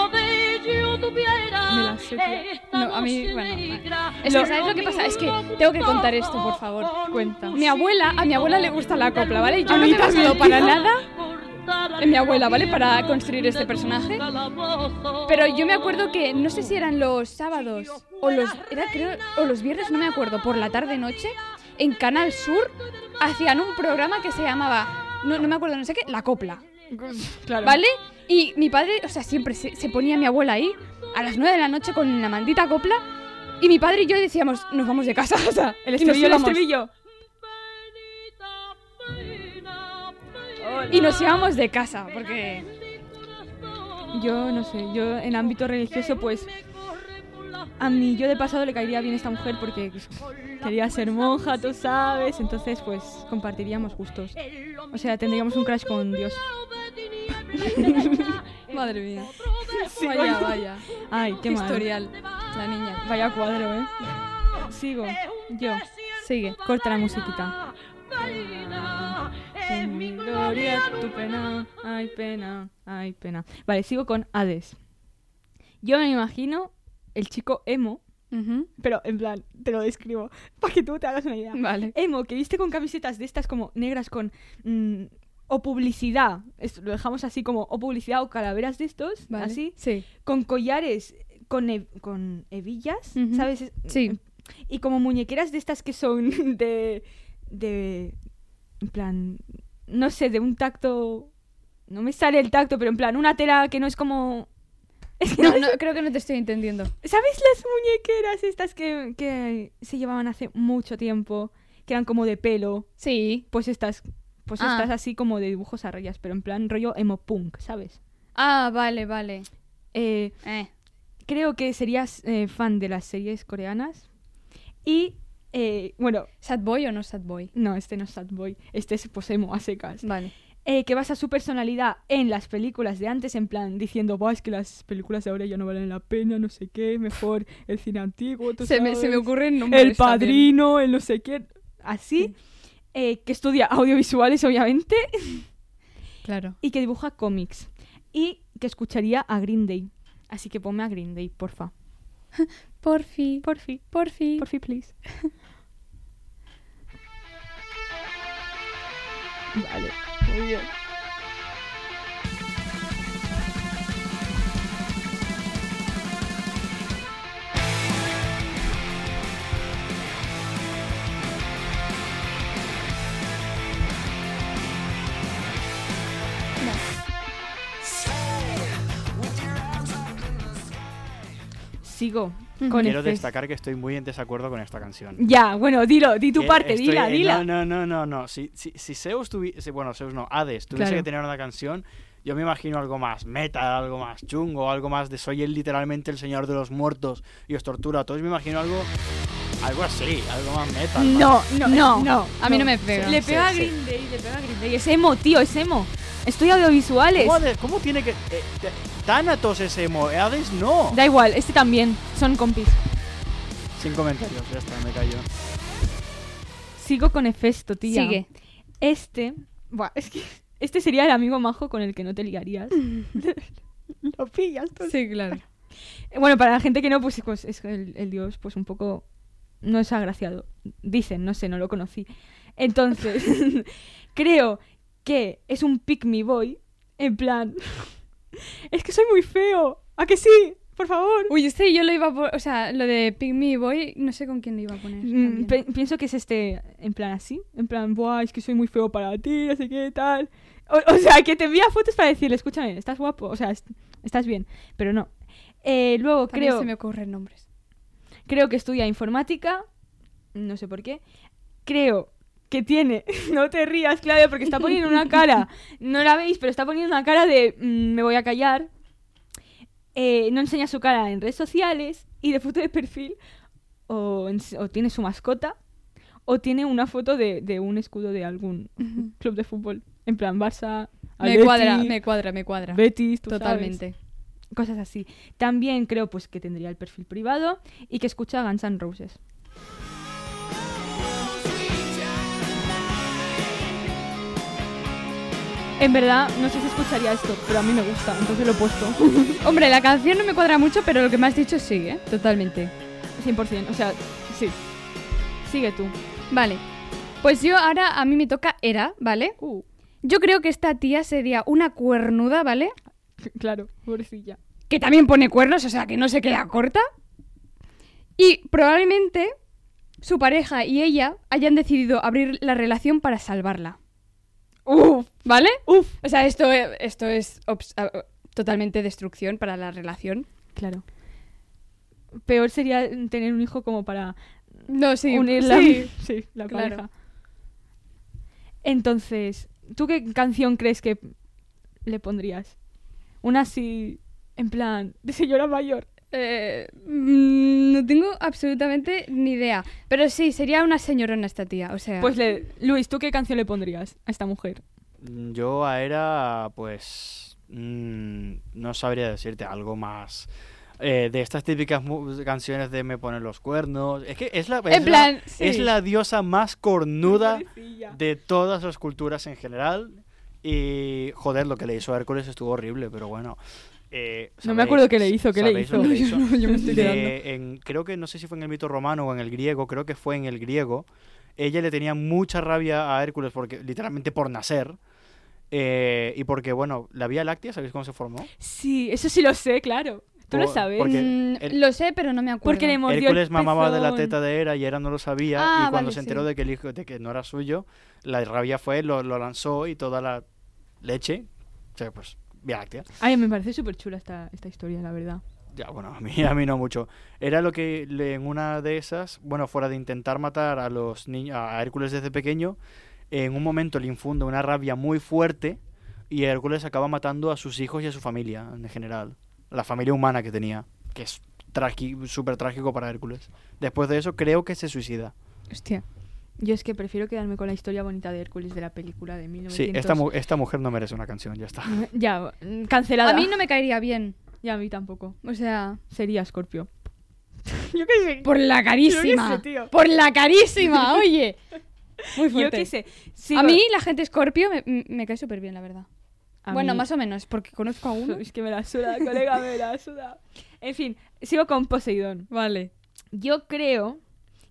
yo
Me
tuviera
la sé, tía.
esta
No, a mí,
noche
bueno, vale.
negra,
Es que, ¿sabes lo que pasa? Es que tengo que contar esto, por favor.
Cuenta.
Mi abuela, a mi abuela le gusta la copla, ¿vale? Yo
A
no
mí
me he basado
también.
para nada
Cortar
en mi abuela,
al
¿vale? Para
filo
construir este
de tu
personaje.
calabozo.
Pero yo me acuerdo que no sé si eran los sábados o los era creo o los viernes, no me acuerdo, por la tarde noche en Canal Sur hacían un programa que se llamaba no, no me acuerdo, no sé qué, La Copla,
Claro.
¿vale? Y mi padre, o sea, siempre se, se ponía mi abuela ahí a las 9 de la noche con la maldita copla y mi padre y yo decíamos, nos vamos de casa, o sea,
El
y nos
estribillo, el
íbamos.
estribillo.
y nos íbamos de casa porque
Yo no sé, yo en ámbito religioso pues a mí yo de pasado le caería bien esta mujer porque
pues,
quería ser monja, tú sabes, entonces pues compartiríamos gustos. O sea, tendríamos un crash con Dios.
Madre mía.
Vaya,
vaya, vaya.
Ay, qué mal.
Eh, historial. La niña.
Vaya cuadro, ¿eh? Sigo. Yo.
Sigue.
Corta la musiquita.
bailarina.
Es mi gloria, tu pena, ay pena, ay pena. Vale, sigo con Hades. Yo me imagino el chico emo,
Ujú.
pero en plan, te lo describo para que tú te hagas una idea.
Vale.
Emo, que viste con camisetas de estas como negras con... mm, o publicidad, es- lo dejamos así como o publicidad o calaveras de estos,
Vale.
así,
Sí.
con collares, con, he- con hebillas,
Ujú.
¿sabes? Es-
Sí.
Y como muñequeras de estas que son de. de. en plan. no sé, de un tacto. no me sale el tacto, pero en plan, una tela que no es como. es que no
No,
me
no, creo que no te estoy entendiendo.
¿Sabes las muñequeras estas que, que se llevaban hace mucho tiempo? Que eran como de pelo.
Sí.
Pues estas. Pues
Ah.
estas así como de dibujos a rayas, pero en plan rollo emo punk, ¿sabes?
Ah, vale, vale.
Eh,
Eh.
creo que serías eh, fan de las series coreanas. Y. eh, bueno,
¿Sad boy o no sad boy?
no, este no es Sad Boy. Este es pues emo a secas.
Vale.
eh, que basa su personalidad en las películas de antes, en plan diciendo, "Buah, es que las películas de ahora ya no valen la pena, no sé qué, mejor el cine antiguo, tú
Se me, se me
sabes,
ocurren nombres.
el
también.
padrino, el no sé qué, así, eh, que estudia audiovisuales, obviamente,
Claro.
y que dibuja cómics, y que escucharía a Green Day. Así que ponme a Green Day, porfa.
Porfi,
Porfi,
porfi.
porfi, please. vale, muy bien. Sigo con
Quiero
este.
destacar que estoy muy en desacuerdo con esta canción.
Ya, bueno, dilo, di tu
Que
parte,
estoy-
dila,
eh,
dila.
No, no, no, no, no. Si, si, si Zeus tuviese, bueno, Zeus no, Hades tuviese
Claro.
que tener una canción, yo me imagino algo más meta, algo más chungo, algo más de soy el, literalmente el señor de los muertos y os tortura a todos. Me imagino algo, algo así, algo más meta.
No,
No,
no, no, no.
a mí no me pega.
Le
Sí,
pega a
sí.
Green Day, le pega a Green Day. Es emo, tío, es emo. Estoy audiovisuales.
¿Cómo, Hades- cómo tiene que...? eh, te- Thanatos es emo, Hades no.
Da igual, este también. Son compis.
Sin comentarios, ya está, me callo.
Sigo con Hefesto, tía.
Sigue.
Este. Buah, es que. Este sería el amigo majo con el que no te ligarías. Lo pillas tú.
Sí, claro.
Eh, Bueno, para la gente que no, pues, pues, es el, el dios, pues un poco. No es agraciado. Dicen, no sé, no lo conocí. Entonces, creo que es un pick me boy. En plan. es que soy muy feo. ¿A que sí? Por favor.
Uy, este yo lo iba a poner. O sea, lo de Pick Me Boy, no sé con quién lo iba a poner.
Mm,
también.
pe- pienso que es este, en plan así, en plan, buah, es que soy muy feo para ti, no sé qué, tal. O, o sea, que te envía fotos para decirle, escúchame, estás guapo, o sea, est- estás bien, pero no. Eh, luego
También
creo,
se me ocurren nombres.
creo que estudia informática, no sé por qué. Creo que tiene, no te rías, Claudia, porque está poniendo una cara, no la veis, pero está poniendo una cara de mm, me voy a callar. Eh, no enseña su cara en redes sociales y de foto de perfil o, ens- o tiene su mascota o tiene una foto de, de un escudo de algún
Ujú.
club de fútbol. En plan, Barça,
Me
Atleti,
cuadra, me cuadra, me cuadra.
Betis, tú sabes
Totalmente.
cosas así. También creo pues que tendría el perfil privado y que escucha Guns N' Roses. En verdad, no sé si escucharía esto, pero a mí me gusta, entonces lo he puesto.
Hombre, la canción no me cuadra mucho, pero lo que me has dicho sí, ¿eh? Totalmente.
100%, o sea, sí. Sigue tú.
Vale. Pues yo ahora a mí me toca Era, ¿vale? Yo creo que esta tía sería una cuernuda, ¿vale?
Claro, pobrecilla.
Que también pone cuernos, o sea, que no se queda corta. Y probablemente su pareja y ella hayan decidido abrir la relación para salvarla.
Uf,
¿Vale?
uf.
O sea, esto, eh, esto es obs- ah, ah, totalmente destrucción para la relación.
Claro. Peor sería tener un hijo como para
No, sí.
unir la,
sí.
sí, la
claro.
pareja. Entonces, ¿tú qué canción crees que le pondrías? Una así, en plan, de señora mayor.
Eh, mm, no tengo absolutamente ni idea. Pero sí, sería una señorona esta tía. O sea,
Pues, le, Luis, ¿tú qué canción le pondrías a esta mujer?
Mm, Yo a Era, pues. mm, no sabría decirte algo más. eh, de estas típicas mu- canciones de Me ponen los cuernos. Es que es la, es
En
la-
plan,
es
sí.
la diosa más cornuda
Pobrecilla.
de todas las culturas en general. Y joder, lo que le hizo a Hércules estuvo horrible, pero bueno. eh,
No me
sabéis-
acuerdo qué le hizo, qué le
sabéis
hizo.
lo que
Yo no- yo me estoy
Le-
quedando.
en- creo que no sé si fue en el mito romano o en el griego, creo que fue en el griego. Ella le tenía mucha rabia a Hércules porque literalmente por nacer. eh, y porque, bueno, la Vía Láctea, ¿sabéis cómo se formó?
Sí, eso sí lo sé, claro. Tú lo
Por-
sabes.
porque-
Mm,
el-
lo sé, pero no me acuerdo.
Porque le mordió el
Hércules mamaba de la
pezón.
teta de Hera y Hera no lo sabía.
Ah,
y cuando
vale,
se enteró
sí.
de que el hijo de que no era suyo, la rabia fue, lo, lo lanzó y toda la leche. O sea, pues, Vía Láctea.
Ay, me parece súper chula esta, esta historia, la verdad.
Ya, bueno, a mí, a mí no mucho. Era lo que le- en una de esas, bueno, fuera de intentar matar a los niños, a Hércules desde pequeño, en un momento le infunda una rabia muy fuerte y Hércules acaba matando a sus hijos y a su familia en general. La familia humana que tenía, que es tragi- súper trágico para Hércules. Después de eso, creo que se suicida.
Hostia. Yo es que prefiero quedarme con la historia bonita de Hércules de la película de 1900.
Sí, esta, mu- esta mujer no merece una canción, ya está.
Ya, mm, cancelada.
A mí no me caería bien.
Ya, a mí tampoco.
O sea,
Sería Scorpio. Yo qué sé.
por la
Yo qué
carísima.
sé, tío.
Por la carísima, oye. Muy fuerte.
Yo qué sé. Sí,
a
lo-
mí la gente Scorpio me, me cae súper bien, la verdad.
a
bueno,
mí-
más o menos, porque conozco a uno.
Es que me la suda, colega, me la suda. En fin, sigo con Poseidón.
Vale.
Yo creo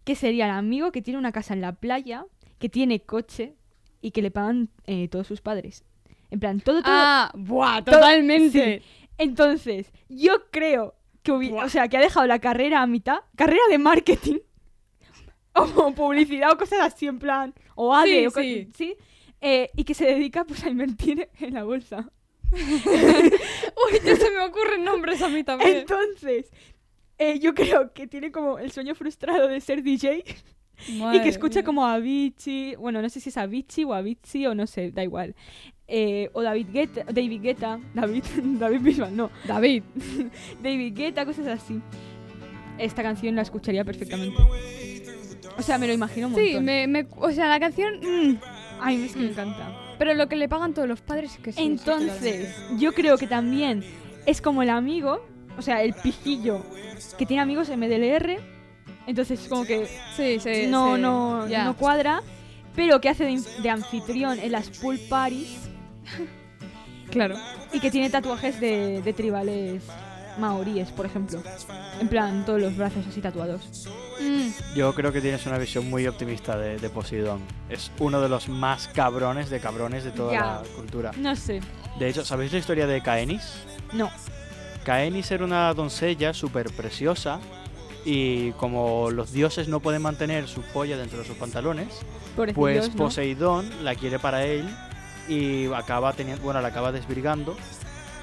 que sería el amigo que tiene una casa en la playa, que tiene coche y que le pagan eh, todos sus padres. En plan, todo, todo.
Ah, buah,
todo-
totalmente.
sí. Entonces, yo creo que, hubi- o sea, que ha dejado la carrera a mitad, carrera de marketing, o publicidad o cosas así, en plan, o ADE,
Sí,
o cosas
sí.
¿sí? Eh, y que se dedica pues a invertir en la bolsa.
Uy, ya se me ocurren nombres a mí también.
Entonces, eh, yo creo que tiene como el sueño frustrado de ser DJ y que escucha como a Avicii, bueno, no sé si es Avicii o Avicii o no sé, da igual. Eh, o David Guetta, David Guetta, David, David Bisbal, no,
David.
David Guetta, cosas así. Esta canción la escucharía perfectamente. O sea, me lo imagino un
Sí,
montón.
me, me- o sea, la canción. mm,
Ay, es que me encanta.
pero lo que le pagan todos los padres es que sí. eso
Entonces, yo creo que también es como el amigo, o sea, el pijillo, que tiene amigos MDLR. Entonces, como que eh,
Sí, sí.
no,
sí.
no,
Ya.
no cuadra, pero que hace de, inf- de anfitrión en las pool parties
Claro.
y que tiene tatuajes de, de tribales maoríes, por ejemplo. En plan, todos los brazos así tatuados.
Mm,
Yo creo que tienes una visión muy optimista de, de Poseidón. Es uno de los más cabrones de cabrones de toda
Ya.
la cultura.
No sé.
De hecho, ¿sabéis la historia de Caenis?
No.
Caenis era una doncella súper preciosa y como los dioses no pueden mantener su polla dentro de sus pantalones,
Por
pues Poseidón la quiere para él y acaba teniendo, bueno, la acaba desvirgando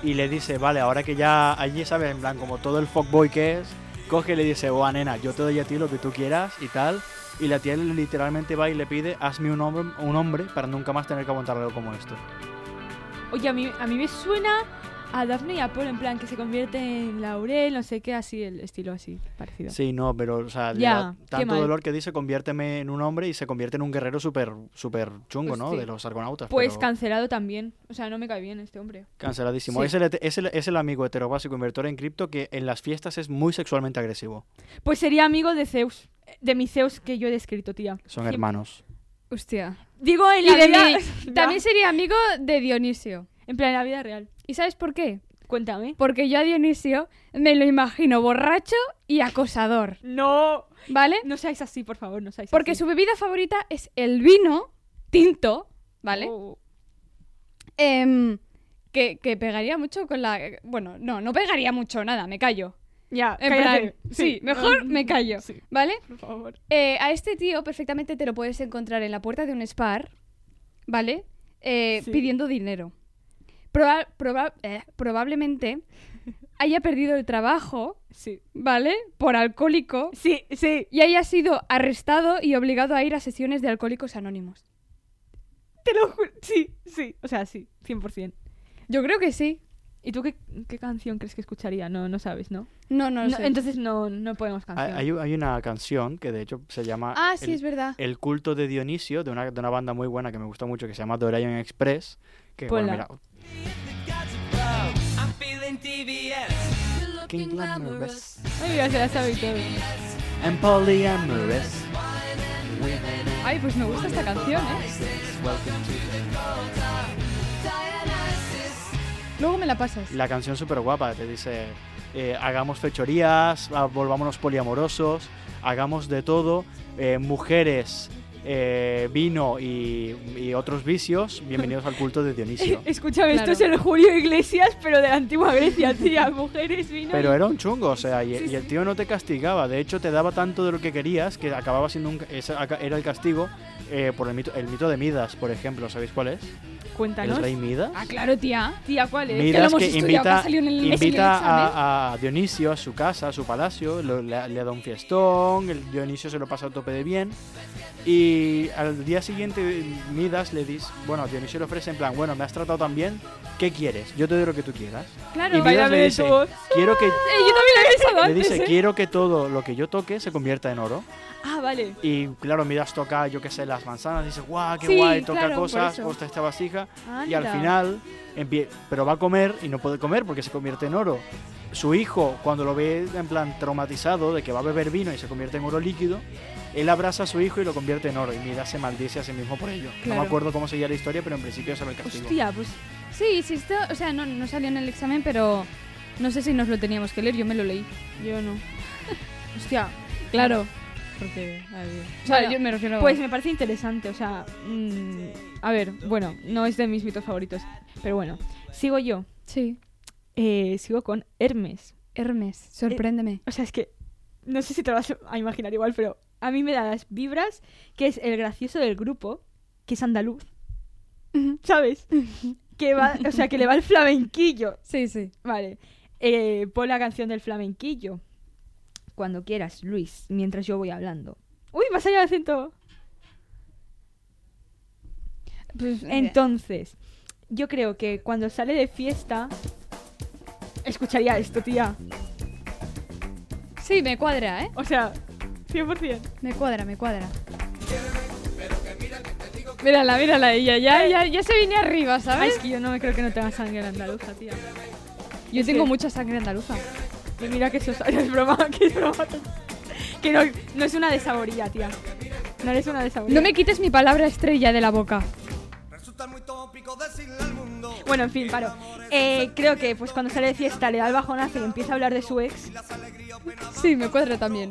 y le dice, vale, ahora que ya allí sabes, en plan, como todo el fuckboy que es, coge y le dice, oh, nena, yo te doy a ti lo que tú quieras y tal. Y la tía literalmente va y le pide, hazme un hombre, un hombre para nunca más tener que aguantar algo como esto.
Oye, a mí, a mí me suena a Daphne y Apolo, en plan, que se convierte en Laurel, no sé qué, así, el estilo así, parecido.
Sí, no, pero, o sea, le
Ya,
da
qué
tanto
mal.
dolor que dice conviérteme en un hombre y se convierte en un guerrero súper súper chungo,
Pues
¿no?
sí.
De los argonautas.
Pues
pero
cancelado también. O sea, no me cae bien este hombre.
canceladísimo.
sí.
Es, el, hete- es, el, es el amigo heterobásico inversor en cripto que en las fiestas es muy sexualmente agresivo.
Pues sería amigo de Zeus, de mi Zeus que yo he descrito, tía.
Son
Cien-
hermanos.
Hostia.
Digo, en
Y
la
de
vida...
mí. También sería amigo de Dionisio.
En plan, en la vida real.
¿Y sabes por qué?
Cuéntame.
Porque yo a Dionisio me lo imagino borracho y acosador,
No.
¿vale?
No seáis así, por favor, no seáis
Porque
así.
su bebida favorita es el vino tinto, ¿vale?
Oh.
Em, que, que pegaría mucho con la... Bueno, no, no pegaría mucho, nada, me callo.
Ya,
En
cállate.
plan, sí, mejor me callo,
Mm, Sí,
¿vale?
por favor.
Eh, a este tío perfectamente te lo puedes encontrar en la puerta de un spar, ¿vale? Eh,
Sí.
Pidiendo dinero. Proba- proba- eh, probablemente haya perdido el trabajo,
Sí.
¿vale? Por alcohólico
Sí, sí.
y haya sido arrestado y obligado a ir a sesiones de alcohólicos anónimos.
Te lo juro. Sí, sí. O sea, sí, 100%.
Yo creo que sí.
¿Y tú qué, qué canción crees que escucharía? No, no sabes, ¿no?
No, no lo
No,
sé.
entonces no, no podemos
Hay,
canción.
hay un- hay una canción que de hecho se llama
ah,
el,
sí, es verdad.
El culto de Dionisio, de una, de una banda muy buena que me gusta mucho que se llama Dorian Express. Que, bueno,
Ponla.
mira,
I'm feeling TBS.
fucking glamorous
Ay, mira, se la sabe y todo.
and polyamorous.
Ay, pues me gusta esta canción, ¿eh? Luego me la pasas.
la canción súper guapa, te dice, eh, hagamos fechorías, ah, volvámonos poliamorosos, hagamos de todo, eh, mujeres, eh, vino y, y otros vicios, bienvenidos al culto de Dionisio.
Escúchame,
Claro.
esto es el Julio Iglesias, pero de la antigua Grecia, tía. Mujeres, vino.
Pero
y-
era un chungo, o sea, y, y el tío no te castigaba, de hecho te daba tanto de lo que querías que acababa siendo un... ca- ese aca- era el castigo eh, por el mito, el mito de Midas, por ejemplo, ¿sabéis cuál es?
Cuéntanos.
¿El rey Midas?
Ah, claro, tía.
Tía, ¿cuál es? Ah,
Midas
hemos
que
estudiado, que ha
invita,
salido en el- es en el
invita
examen.
a, a Dionisio a su casa, a su palacio, lo- le, le da un fiestón, el Dionisio se lo pasa a tope de bien y al día siguiente Midas le dice, bueno, Dionisio le ofrece en plan, bueno, me has tratado tan bien, ¿qué quieres? Yo te doy lo que tú quieras.
Claro,
y Midas
bailame
le
de
dice,
tu voz.
quiero que,
Eh, yo también la he pensado
le
antes, ¿eh?
dice, quiero que todo lo que yo toque se convierta en oro.
Ah, vale.
Y claro, Midas toca, yo qué sé, las manzanas, dice, guau, qué
Sí,
guay, toca
claro, por
cosas,
eso.
costa esta vasija. Y
Anda.
al final, empie- pero va a comer y no puede comer porque se convierte en oro. Su hijo, cuando lo ve en plan traumatizado de que va a beber vino y se convierte en oro líquido, él abraza a su hijo y lo convierte en oro. Y Midas se maldice a sí mismo por ello. No
Claro.
me acuerdo cómo seguía la historia, pero en principio se el castigo.
Hostia, pues.
Sí, sí, esto, o sea, no, no salió en el examen, pero no sé si nos lo teníamos que leer, yo me lo leí.
Yo no. Hostia.
Claro.
Porque. a ver.
O sea,
Bueno,
yo me refiero
Pues me parece interesante, o sea, mm, a ver, bueno, no es de mis mitos favoritos, pero bueno, sigo yo,
Sí,
Eh, sigo con Hermes.
Hermes, sorpréndeme.
O sea, es que no sé si te lo vas a imaginar igual, pero a mí me da las vibras que es el gracioso del grupo, que es andaluz, ¿sabes? que va, o sea, que le va el flamenquillo,
Sí, sí.
vale. Eh, pon la canción del flamenquillo cuando quieras, Luis, mientras yo voy hablando. Uy, me ha salido el acento.
Pues,
Entonces, yo creo que cuando sale de fiesta, escucharía esto, tía.
sí, me cuadra, ¿eh?
O sea, 100%.
Me cuadra, me cuadra.
Mírala, mírala, ella
Ya, ya, ya se viene arriba,
Ay, es
¿sabes?
que yo no me creo que no tenga sangre en andaluza, tía.
Yo
es
tengo
que-
mucha sangre andaluza.
Y mira que eso es, es broma, que es broma. Que no, no es una desaboría, tía. No eres una desaboría.
No me quites mi palabra estrella de la boca.
Resulta muy tópico decirle al mundo.
Bueno, en fin, paro. Eh, creo que pues cuando sale de fiesta le da el bajonazo y empieza a hablar de su ex,
Sí, me cuadra también.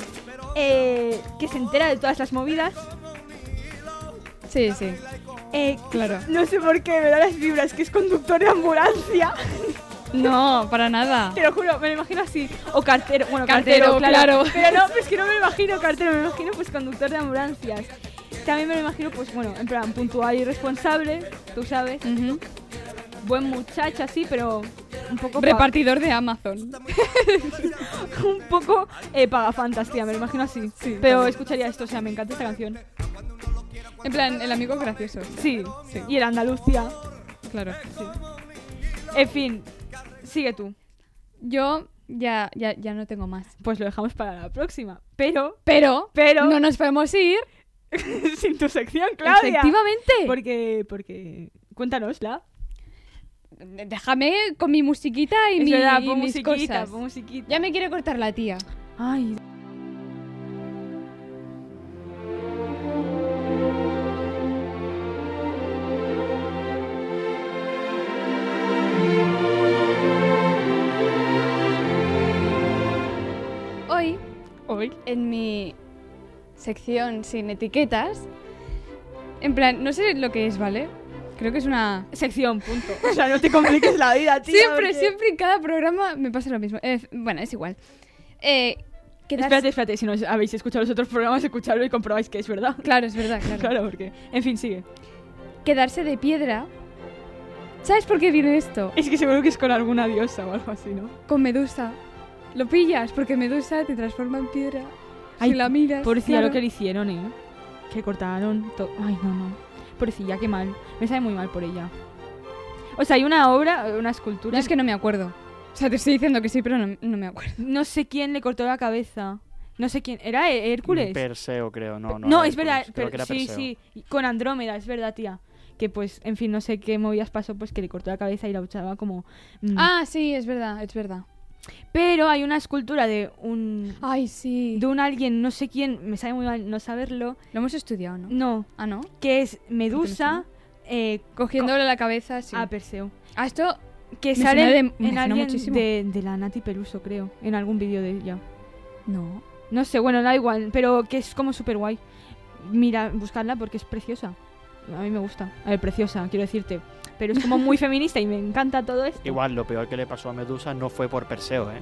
eh, que se entera de todas las movidas.
Sí, sí.
eh,
Claro.
No sé por qué, me da las vibras, que es conductor de ambulancia.
No, para nada.
Te lo juro, me lo imagino así. O cartero, bueno, cartero,
Cartero,
claro.
claro.
Pero no, pues que no me lo imagino cartero, me lo imagino pues conductor de ambulancias. También me lo imagino, pues bueno, en plan puntual y responsable, tú sabes.
Ujú.
Buen muchacho así, pero un poco. pa-
Repartidor de Amazon.
un poco eh, pagafantas, tía, me lo imagino así. pero escucharía esto, o sea, me encanta esta canción.
En plan, el amigo gracioso.
Sí,
Sí.
Y el Andalucía.
Claro.
En fin, sigue tú.
Yo ya, ya, ya no tengo más.
Pues lo dejamos para la próxima. Pero,
Pero,
pero,
no nos podemos ir.
sin tu sección, Claudia.
Efectivamente.
Porque, porque, cuéntanosla.
Déjame con mi musiquita y,
Es
mi-
verdad,
y
pon
mis
musiquita,
cosas.
pon musiquita.
Ya me quiere cortar la tía.
Ay.
Hoy,
Hoy.
en mi sección sin etiquetas, en plan, no sé lo que es, ¿vale? Creo que es una...
Sección, punto. O sea, no te compliques la vida, tío.
siempre,
porque-
siempre en cada programa me pasa lo mismo. Eh, bueno, es igual. Eh, quedarse-
Espérate, espérate. Si no habéis escuchado los otros programas, escuchadlo y comprobáis que es verdad.
Claro, es verdad, claro.
Claro, porque. En fin, sigue.
Quedarse de piedra. ¿Sabes por qué viene esto?
Es que seguro que es con alguna diosa o algo así, ¿no?
Con Medusa. Lo pillas porque Medusa te transforma en piedra.
Ay,
si la miras.
Pobrecilla
claro.
lo que le hicieron, ¿eh? Que cortaron todo. Ay, no, no. Pobrecilla, qué mal. Me sabe muy mal por ella. O sea, hay una obra, una escultura.
Yo es que no me acuerdo. O sea, te estoy diciendo que sí, pero no, no me acuerdo.
No sé quién le cortó la cabeza. No sé quién. ¿Era Hé- Hércules?
Perseo, creo, no, no.
no,
era
es verdad.
Hércules,
pero-
creo que era
sí,
Perseo.
sí. y Con Andrómeda, es verdad, tía. Que pues, en fin, no sé qué movidas pasó, pues que le cortó la cabeza y la luchaba como. mm,
Ah, sí, es verdad, es verdad.
Pero hay una escultura de un
Ay, sí.
de un alguien, no sé quién, me sabe muy mal no saberlo.
Lo hemos estudiado, ¿no?
No,
Ah, ¿no?
que es Medusa eh,
Cogiéndole la cabeza, sí.
a Perseo.
Ah, esto
Que
Me
sale
suena de- me
en
suena
alguien
muchísimo.
de, de la Nati Peluso, creo, en algún vídeo de ella.
No.
No sé, bueno, da igual, pero que es como súper guay. Mira, buscarla porque es preciosa. A mí me gusta. A ver, preciosa, quiero decirte. Pero es como muy feminista y me encanta todo esto.
Igual, lo peor que le pasó a Medusa no fue por Perseo, ¿eh?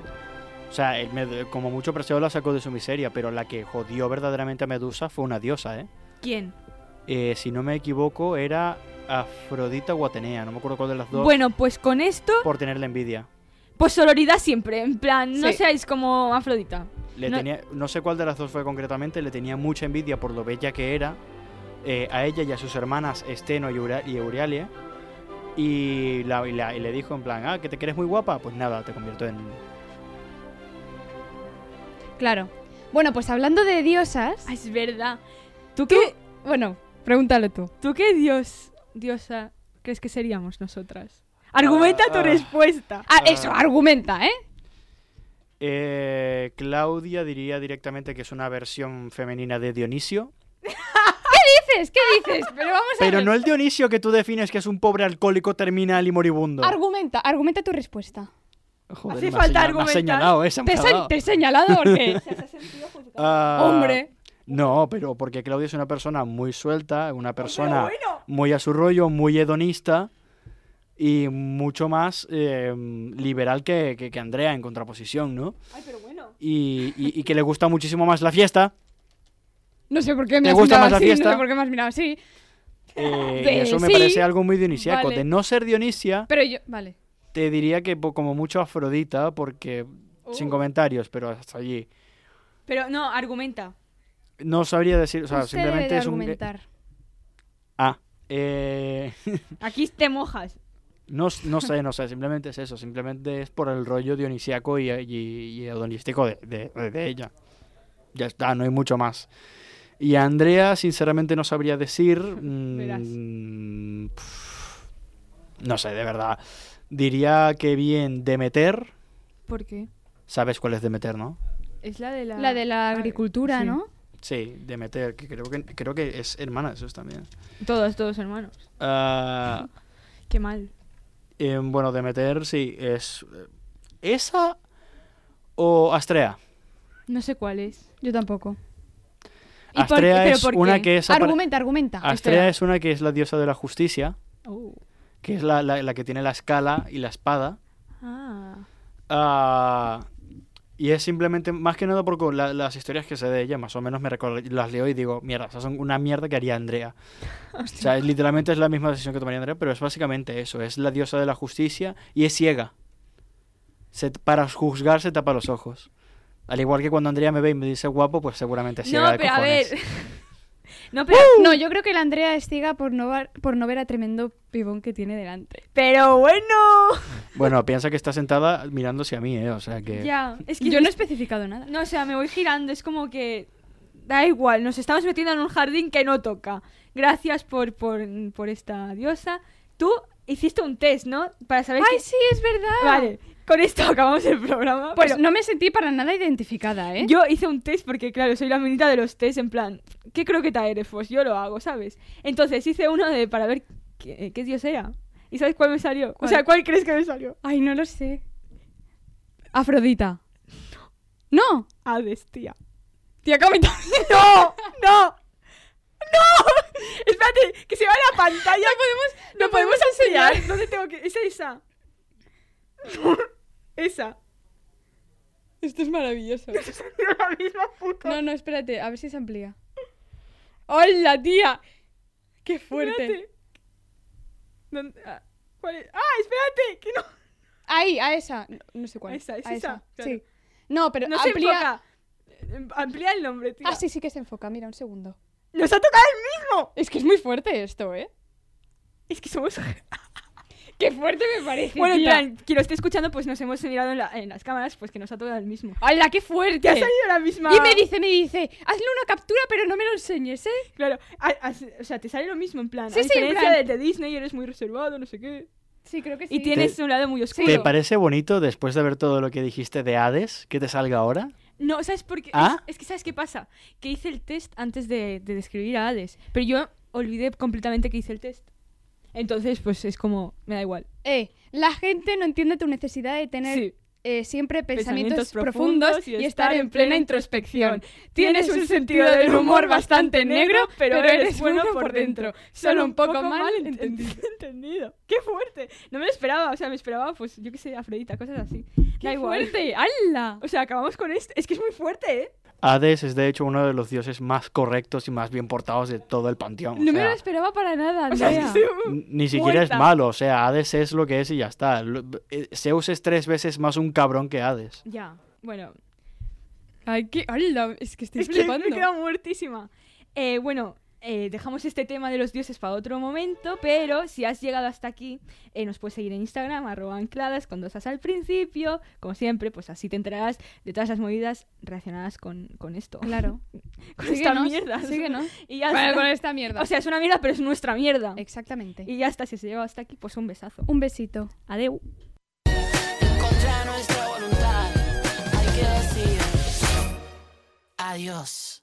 O sea, el Med- como mucho Perseo la sacó de su miseria, pero la que jodió verdaderamente a Medusa fue una diosa, ¿eh?
¿Quién?
Eh, si no me equivoco, era Afrodita o Atenea, no me acuerdo cuál de las dos,
Bueno, pues con esto,
por tenerle envidia.
pues sororidad siempre. En plan, no
Sí.
seáis como Afrodita.
Le
No-
no... Tenía, no sé cuál de las dos fue concretamente, le tenía mucha envidia por lo bella que era eh, a ella y a sus hermanas Esteno y, Eura- y Euralia. Y, la- y la- y le dijo en plan, ah, que te crees muy guapa, pues nada, te convierto en...
Claro. Bueno, pues hablando de diosas.
Ah, es verdad.
¿Tú qué? Bueno, pregúntalo tú.
¿Tú qué dios, diosa, crees que seríamos nosotras? Argumenta tu
ah.
respuesta.
Ah,
Ah.
eso, argumenta, ¿eh?
Eh, Claudia diría directamente que es una versión femenina de Dionisio,
¿Qué dices? ¿Qué dices? Pero vamos a
pero
ver.
no el Dionisio que tú defines que es un pobre alcohólico terminal y moribundo.
Argumenta, argumenta tu respuesta.
Joder,
Hace
me ha
falta
señal- me ha
argumentar.
señalado, eh, se ha
Te, he
enfadado.
se- te he señalado porque.
Ah,
Hombre.
No, pero porque Claudia es una persona muy suelta, una persona muy a su rollo, muy hedonista y mucho más eh, liberal que, que- que Andrea en contraposición, ¿no? Ay, pero bueno. Y, y- y que le gusta muchísimo más la fiesta.
No sé por qué me
¿Te
has
gusta
mirado
más la
así.
fiesta?
No sé por qué me has mirado así.
eh, y
Eh,
eso me
sí.
parece algo muy dionisiaco.
Vale.
De no ser Dionisia,
Pero yo. Vale.
te diría que po- como mucho Afrodita, porque
Uh.
sin comentarios, pero hasta allí.
Pero no, argumenta.
No sabría decir, o sea,
Usted
simplemente
debe de
es un...
argumentar.
Ah, eh...
Aquí te mojas.
No, s- no sé, no sé, simplemente es eso, simplemente es por el rollo dionisiaco y, y, y hedonístico de, de- de ella. Ya está, no hay mucho más. Y a Andrea, sinceramente, no sabría decir. mm,
Verás.
pf, no sé, de verdad. Diría que bien Demeter.
¿Por qué?
¿Sabes cuál es Demeter, no?
Es la de la...
La de la agricultura,
sí.
¿no?
Sí, Demeter, que creo que, creo que es hermana de esos también.
Todos, todos hermanos.
Ah,
Qué mal.
em, bueno, Demeter, sí, es. ¿Esa o Astrea?
No sé cuál es.
Yo tampoco.
¿Y por-
Astrea
pero
es
por
una
qué?
que es apar-
Argumenta, argumenta.
Astrea
Espera.
es una que es la diosa de la justicia,
Oh.
que es la, la- la que tiene la escala y la espada.
Ah.
Ah, y es simplemente, más que nada porque la- las historias que sé de ella, más o menos me recuerdo, las leo y digo, mierda, esas son una mierda que haría Andrea. o sea, es- literalmente es la misma decisión que tomaría Andrea, pero es básicamente eso, es la diosa de la justicia y es ciega. Se- para juzgar se tapa los ojos. Al igual que cuando Andrea me ve y me dice guapo, pues seguramente es ciega
No,
de
pero a ver.
cojones.
No, pero...
No, yo creo que la Andrea es ciega por no, var- por no ver a tremendo pibón que tiene delante.
Pero bueno.
Bueno, piensa que está sentada mirando hacia mí, ¿eh? O sea que...
Ya. Es que
Yo no he especificado nada.
No, o sea, me voy girando. Es como que... Da igual. Nos estamos metiendo en un jardín que no toca. Gracias por, por, por esta diosa. Tú hiciste un test, ¿no? Para saber
Ay,
que-
sí, es verdad.
Vale. Con esto acabamos el programa.
Pues
pero-
no me sentí para nada identificada, ¿eh?
Yo hice un test porque, claro, soy la menita de los test, en plan, ¿qué croqueta eres? Pues yo lo hago, ¿sabes? Entonces hice uno de para ver qué, qué dios era. ¿Y sabes cuál me salió?
¿Cuál?
O sea, ¿cuál crees que me salió?
Ay, no lo sé. Afrodita. No.
Hades, tía.
Tía, ¿cómo te-
¡No! ¡No! ¡No! Espérate, que se va la pantalla. No podemos, no podemos enseñar. ¿Dónde tengo que.? Es esa. esa.
Esto es maravilloso.
La misma puta.
No, no, espérate, a ver si se amplía. ¡Hola, tía! ¡Qué fuerte!
Espérate. ¿Dónde- ah, ¿Cuál es? ¡Ah, espérate! Que no.
Ahí, a esa. No, no sé cuál.
A esa, es
a
esa, claro.
Sí. No, pero
No
amplía.
se enfoca. Em, Amplía el nombre, tío.
Ah, sí, sí que se enfoca. Mira, un segundo.
¡Nos ha tocado el mismo!
Es que es muy fuerte esto, ¿eh?
Es que somos...
¡Qué fuerte me parece!
bueno, en
tía!
plan, quien lo esté escuchando, pues nos hemos mirado en, la- en las cámaras, pues que nos ha tocado el mismo.
¡Hala, qué fuerte!
Te ha salido la misma...
Y me dice, me dice, hazle una captura, pero no me lo enseñes, ¿eh?
Claro, a- a- o sea, te sale lo mismo, en plan,
Sí,
a
sí, en
diferencia
plan-
de, de Disney, eres muy reservado, no sé qué.
Sí, creo que sí.
Y tienes un lado muy oscuro.
¿Te parece bonito después de ver todo lo que dijiste de Hades que te salga ahora?
No, ¿sabes por qué?
¿Ah?
Es, es que ¿sabes qué pasa? Que hice el test antes de, de describir a Hades. Pero yo olvidé completamente que hice el test. Entonces, pues es como, me da igual.
Eh, la gente no entiende tu necesidad de tener
Sí.
eh, siempre pensamientos, profundos, y estar en plena introspección.
Tienes un sentido del humor bastante negro, pero eres bueno por dentro. Solo un poco mal entendido. entendido. ¡Qué fuerte! No me lo esperaba, o sea, me esperaba, pues, yo qué sé, Afrodita, cosas así. da igual.
fuerte! ¡Hala!
O sea, acabamos con esto. Es que es muy fuerte, ¿eh?
Hades es de hecho uno de los dioses más correctos y más bien portados de todo el panteón. o
No me
sea,
lo esperaba para nada,
O sea, es
Andrea.
que soy un-
n- ni siquiera es
Muerta.
malo, o sea, Hades es lo que es y ya está. Lo- eh, Zeus es tres veces más un cabrón que Hades.
Ya, bueno.
Ay, qué- ¡Hala! Es que estoy
Es que
flipando.
me queda muertísima. Eh, bueno, eh, dejamos este tema de los dioses para otro momento, pero si has llegado hasta aquí, eh, nos puedes seguir en Instagram, arroba ancladas con dos as al principio. Como siempre, pues así te enterarás de todas las movidas relacionadas con, con esto.
Claro.
Con esta
Síguenos,
mierda.
síguenos.
Y ya
Bueno,
está.
con esta mierda.
O sea, es una mierda, pero es nuestra mierda.
Exactamente.
Y ya está, si se llegado hasta aquí, pues un besazo.
Un besito.
Adeu.
Contra nuestra voluntad, hay que decir adiós.